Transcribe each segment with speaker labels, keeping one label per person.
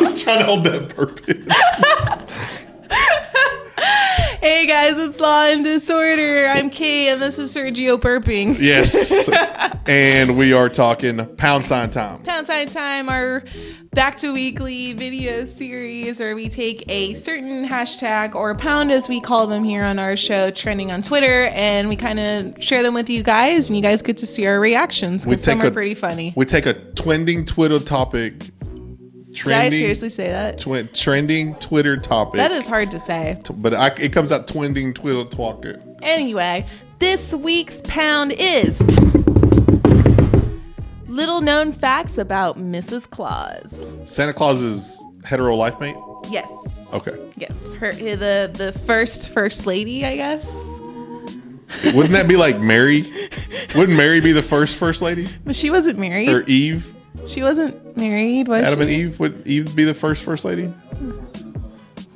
Speaker 1: just trying to hold that burp in.
Speaker 2: Hey guys, it's Law and Disorder. I'm Kay, and this is Sergio burping.
Speaker 1: Yes. and we are talking pound sign time.
Speaker 2: Pound Sign Time, our back to weekly video series where we take a certain hashtag or pound, as we call them here on our show, trending on Twitter, and we kind of share them with you guys, and you guys get to see our reactions
Speaker 1: We
Speaker 2: because some
Speaker 1: take
Speaker 2: are
Speaker 1: a-
Speaker 2: pretty funny.
Speaker 1: We take a trending Twitter topic.
Speaker 2: Did I
Speaker 1: Trending,
Speaker 2: seriously say that?
Speaker 1: twen- trending Twitter topic.
Speaker 2: That is hard to say.
Speaker 1: but I, it comes out trending Twitter topic.
Speaker 2: Anyway, this week's pound is little known facts about Mrs. Claus.
Speaker 1: Santa Claus's hetero life mate.
Speaker 2: Yes.
Speaker 1: Okay.
Speaker 2: Yes, her eh, the the first first lady, I guess.
Speaker 1: Wouldn't that be like Mary? Wouldn't Mary be the first first lady?
Speaker 2: But she wasn't married.
Speaker 1: Or Eve?
Speaker 2: she wasn't married, was
Speaker 1: Adam
Speaker 2: she?
Speaker 1: and Eve? Would Eve be the first first lady?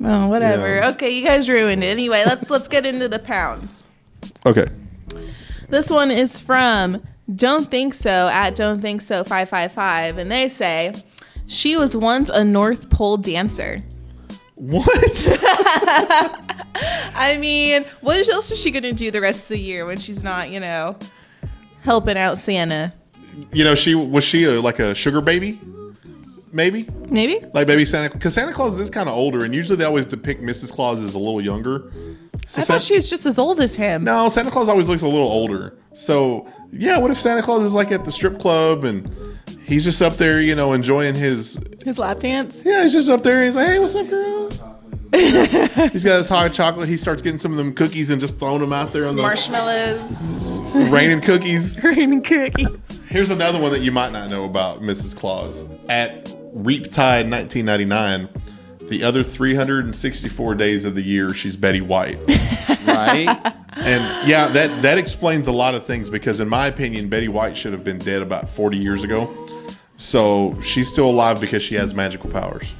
Speaker 2: Oh, whatever.
Speaker 1: Yeah.
Speaker 2: Okay, you guys ruined it. Anyway, let's let's get into the pounds.
Speaker 1: Okay.
Speaker 2: This one is from Don't Think So at Don't Think So five five five, and they say she was once a North Pole dancer.
Speaker 1: What?
Speaker 2: I mean, what else is she gonna do the rest of the year when she's not, you know, helping out Santa?
Speaker 1: you know, she was she a, like a sugar baby? Maybe?
Speaker 2: Maybe.
Speaker 1: Like baby Santa because Santa Claus is kind of older, and usually they always depict Mrs. Claus as a little younger. So
Speaker 2: I thought
Speaker 1: Sa-
Speaker 2: she was just as old as him.
Speaker 1: no, Santa Claus always looks a little older. So yeah, what if Santa Claus is like at the strip club and he's just up there, you know, enjoying his
Speaker 2: His lap dance.
Speaker 1: yeah, he's just up there. He's like, hey, what's up, girl? he's got his hot chocolate. He starts getting some of them cookies and just throwing them out there on the
Speaker 2: marshmallows,
Speaker 1: raining cookies.
Speaker 2: green cookies.
Speaker 1: Here's another one that you might not know about Mrs. Claus. At Reaptide 1999, the other 364 days of the year, she's Betty White.
Speaker 3: right?
Speaker 1: And yeah, that, that explains a lot of things because, in my opinion, Betty White should have been dead about 40 years ago. So she's still alive because she has magical powers.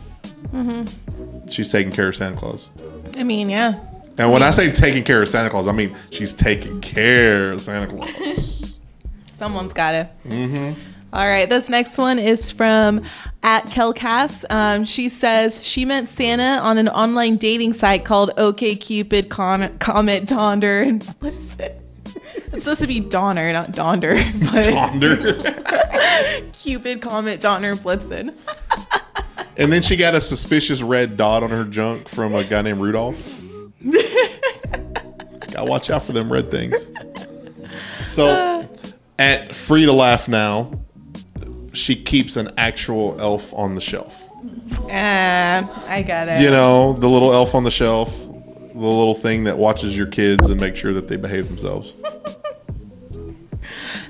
Speaker 1: Mm-hmm. She's taking care of Santa Claus.
Speaker 2: I mean, yeah.
Speaker 1: And when I say taking care of Santa Claus, I mean she's taking care of Santa Claus.
Speaker 2: Someone's got to.
Speaker 1: Mm-hmm.
Speaker 2: All right, this next one is from at Kelcass. Um, she says she met Santa on an online dating site called OKCupid, Con- Comet, Donder, and what's it? It's supposed to be Donner, not Donder, but
Speaker 1: Ponder.
Speaker 2: Cupid, Comet, Donner, Blitzen.
Speaker 1: And then she got a suspicious red dot on her junk from a guy named Rudolph. Gotta watch out for them red things. So at Free to Laugh Now, she keeps an actual elf on the shelf.
Speaker 2: Uh, I got it.
Speaker 1: You know, the little elf on the shelf, the little thing that watches your kids and makes sure that they behave themselves.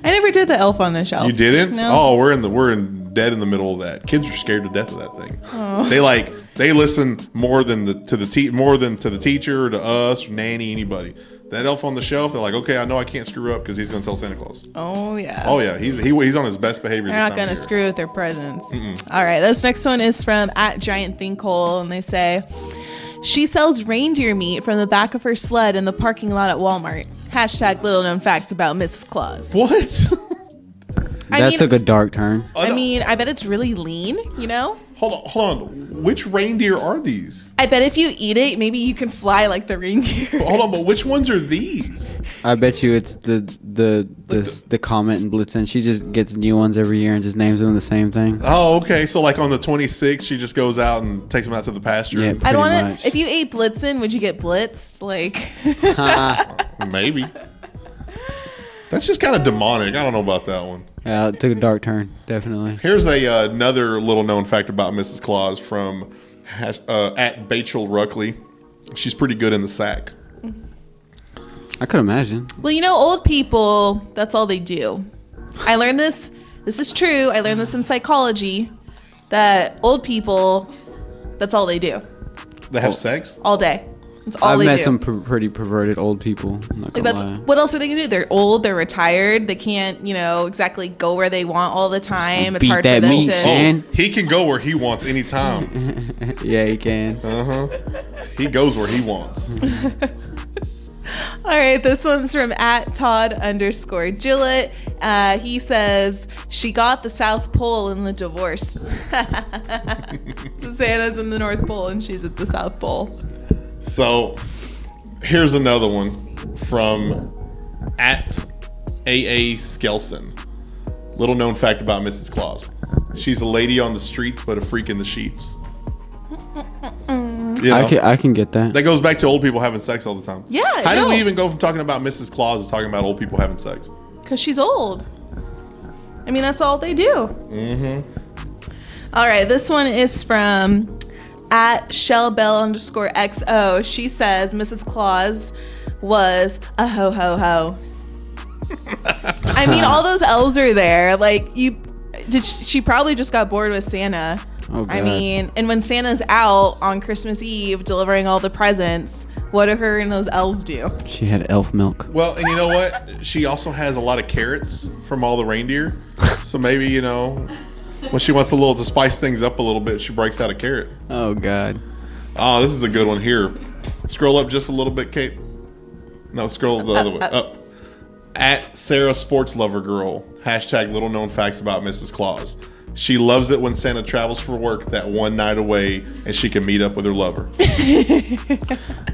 Speaker 2: I never did the elf on the shelf.
Speaker 1: You didn't?
Speaker 2: No.
Speaker 1: Oh, we're in the we're in dead in the middle of that. Kids are scared to death of that thing.
Speaker 2: Oh.
Speaker 1: They like they listen more than the to the te- more than to the teacher, to us, nanny, anybody. That elf on the shelf, they're like, okay, I know I can't screw up because he's gonna tell Santa Claus.
Speaker 2: Oh, yeah.
Speaker 1: Oh yeah, he's he, he's on his best behavior.
Speaker 2: They're
Speaker 1: this
Speaker 2: not
Speaker 1: time
Speaker 2: going to
Speaker 1: of year.
Speaker 2: screw with their presence. All right, this next one is from at Giant Thinkhole, and they say she sells reindeer meat from the back of her sled in the parking lot at Walmart. Hashtag little known facts about Mrs. Claus.
Speaker 1: What?
Speaker 2: I
Speaker 3: that
Speaker 2: mean,
Speaker 3: took a Oh, dark turn.
Speaker 2: I mean, I bet it's really lean. You know,
Speaker 1: hold on, hold on. Which reindeer are these?
Speaker 2: I bet if you eat it, maybe you can fly like the reindeer.
Speaker 1: Hold on, but which ones are these?
Speaker 3: I bet you it's the the the the, the comment in Blitzen. She just gets new ones every year and just names them the same thing.
Speaker 1: Oh, okay. So like on the 26th, she just goes out and takes them out to the pasture.
Speaker 3: Yeah.
Speaker 2: I
Speaker 3: Pretty
Speaker 2: don't want
Speaker 3: much.
Speaker 2: to. If you ate Blitzen, would you get blitzed? Like,
Speaker 1: Maybe. That's just kind of demonic. I don't know about that one.
Speaker 3: Yeah, it took a dark turn, definitely.
Speaker 1: Here's a uh, another little known fact about Mrs. Claus from hash, uh, at Bachel Ruckley. She's pretty good in the sack.
Speaker 3: I could imagine.
Speaker 2: well, you know, old people. That's all they do. I learned this. This is true. I learned this in psychology that old people, that's all they do
Speaker 1: They have sex.
Speaker 2: all day. That's all
Speaker 3: I've
Speaker 2: they
Speaker 3: met
Speaker 2: do.
Speaker 3: some pr- pretty perverted old people. I'm not
Speaker 2: like
Speaker 3: gonna
Speaker 2: that's
Speaker 3: lie.
Speaker 2: what else are they gonna do? They're old. They're retired. They can't, you know, exactly go where they want all the time. It's
Speaker 3: Beat
Speaker 2: hard for
Speaker 3: that
Speaker 2: them
Speaker 3: meat, Oh,
Speaker 2: to.
Speaker 3: son. And-
Speaker 1: Oh, he can go where he wants anytime.
Speaker 3: Yeah, you can.
Speaker 1: he goes where he wants.
Speaker 2: All right, this one's from at Todd underscore Gillett. Uh, he says she got the South Pole in the divorce. Santa's in the North Pole and she's at the South Pole.
Speaker 1: So here's another one from at AA Skelson. Little known fact about Mrs. Claus. She's a lady on the streets, but a freak in the sheets. You
Speaker 3: I
Speaker 1: know?
Speaker 3: can I can get that.
Speaker 1: that goes back to old people having sex all the time.
Speaker 2: Yeah,
Speaker 1: How
Speaker 2: no.
Speaker 1: do we even go from talking about Mrs. Claus to talking about old people having sex?
Speaker 2: Because she's old. I mean, that's all they do. Mm-hmm. All right, this one is from at shellbell underscore xo. She says Mrs. Claus was a ho ho ho. I mean, all those elves are there. Like you, did she, she probably just got bored with Santa?
Speaker 3: Oh,
Speaker 2: I
Speaker 3: God.
Speaker 2: mean, and when Santa's out on Christmas Eve delivering all the presents, what do her and those elves do?
Speaker 3: She had elf milk.
Speaker 1: Well, and you know what? She also has a lot of carrots from all the reindeer. So maybe, you know, when she wants a little to spice things up a little bit, she breaks out a carrot.
Speaker 3: Oh God.
Speaker 1: Oh, this is a good one here. Scroll up just a little bit, Kate. No, scroll the other way up. At Sarah Sports Lover Girl. Hashtag little known facts about Mrs. Claus. She loves it when Santa travels for work that one night away and she can meet up with her lover.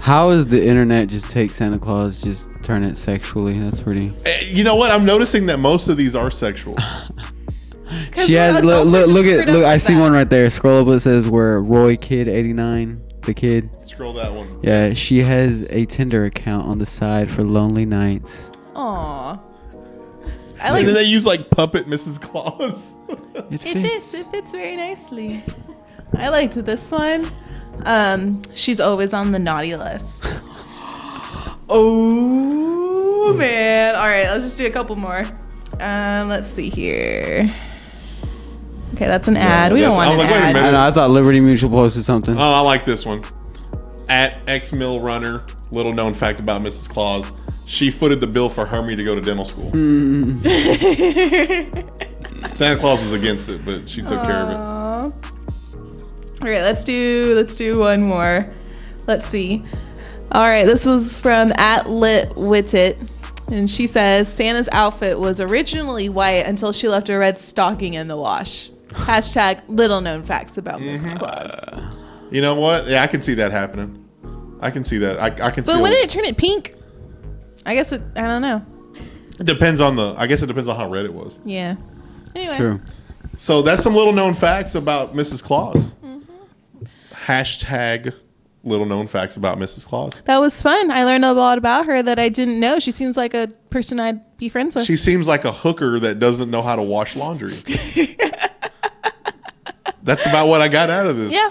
Speaker 3: How is the internet just take Santa Claus, just turn it sexually? That's pretty.
Speaker 1: Eh, you know what? I'm noticing that most of these are sexual.
Speaker 3: She has look
Speaker 2: adults are
Speaker 3: look
Speaker 2: just
Speaker 3: look
Speaker 2: screwed
Speaker 3: at
Speaker 2: up
Speaker 3: look. I
Speaker 2: like
Speaker 3: see
Speaker 2: that.
Speaker 3: one right there. Scroll up. It says where Roy Kid eighty nine, the kid.
Speaker 1: Scroll that one.
Speaker 3: Yeah, she has a Tinder account on the side for lonely nights.
Speaker 2: Aw. I like
Speaker 1: And then they use like puppet Mrs. Claus.
Speaker 3: It
Speaker 2: it fits. It fits very nicely. I liked this one. Um, she's always on the naughty list. oh man! All right, let's just do a couple more. Um, let's see here. Okay, that's an ad. We don't
Speaker 1: that's-
Speaker 2: want
Speaker 1: I was
Speaker 2: an
Speaker 1: like, wait a
Speaker 2: ad.
Speaker 1: minute.
Speaker 3: I know. I thought Liberty Mutual posted something.
Speaker 1: Oh, I like this one. At X Mill Runner, little known fact about Mrs. Claus, she footed the bill for Hermie to go to dental school.
Speaker 2: Hmm.
Speaker 1: Santa Claus was against it, but she took care of it.
Speaker 2: Aw. All right, let's do let's do one more. Let's see. All right, this is from at Lit Wittit, and she says Santa's outfit was originally white until she left her red stocking in the wash. Hashtag little known facts about Mrs. Claus.
Speaker 1: You know what? Yeah, I can see that happening. I can see that. I, I can see.
Speaker 2: But when
Speaker 1: a-
Speaker 2: did it turn it pink? I guess it. I don't know.
Speaker 1: it depends on the. I guess it depends on how red it was.
Speaker 2: Yeah. Anyway.
Speaker 3: True.
Speaker 1: So that's some little known facts about Mrs. Claus.
Speaker 2: Mm-hmm.
Speaker 1: Hashtag little known facts about Mrs. Claus.
Speaker 2: That was fun. I learned a lot about her that I didn't know. She seems like a person I'd be friends with.
Speaker 1: She seems like a hooker that doesn't know how to wash laundry. That's about what I got out of this.
Speaker 2: yeah.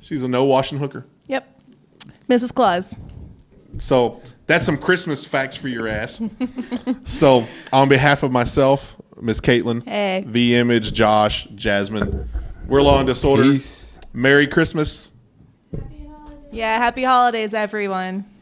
Speaker 1: She's a no washing hooker.
Speaker 2: Yep. Mrs. Claus.
Speaker 1: So that's some Christmas facts for your ass. so on behalf of myself, Miss Caitlin,
Speaker 2: Hey.
Speaker 1: V Image, Josh, Jasmine, we're Law and Disorder.
Speaker 3: Peace.
Speaker 1: Merry Christmas.
Speaker 2: Yeah, happy holidays, everyone.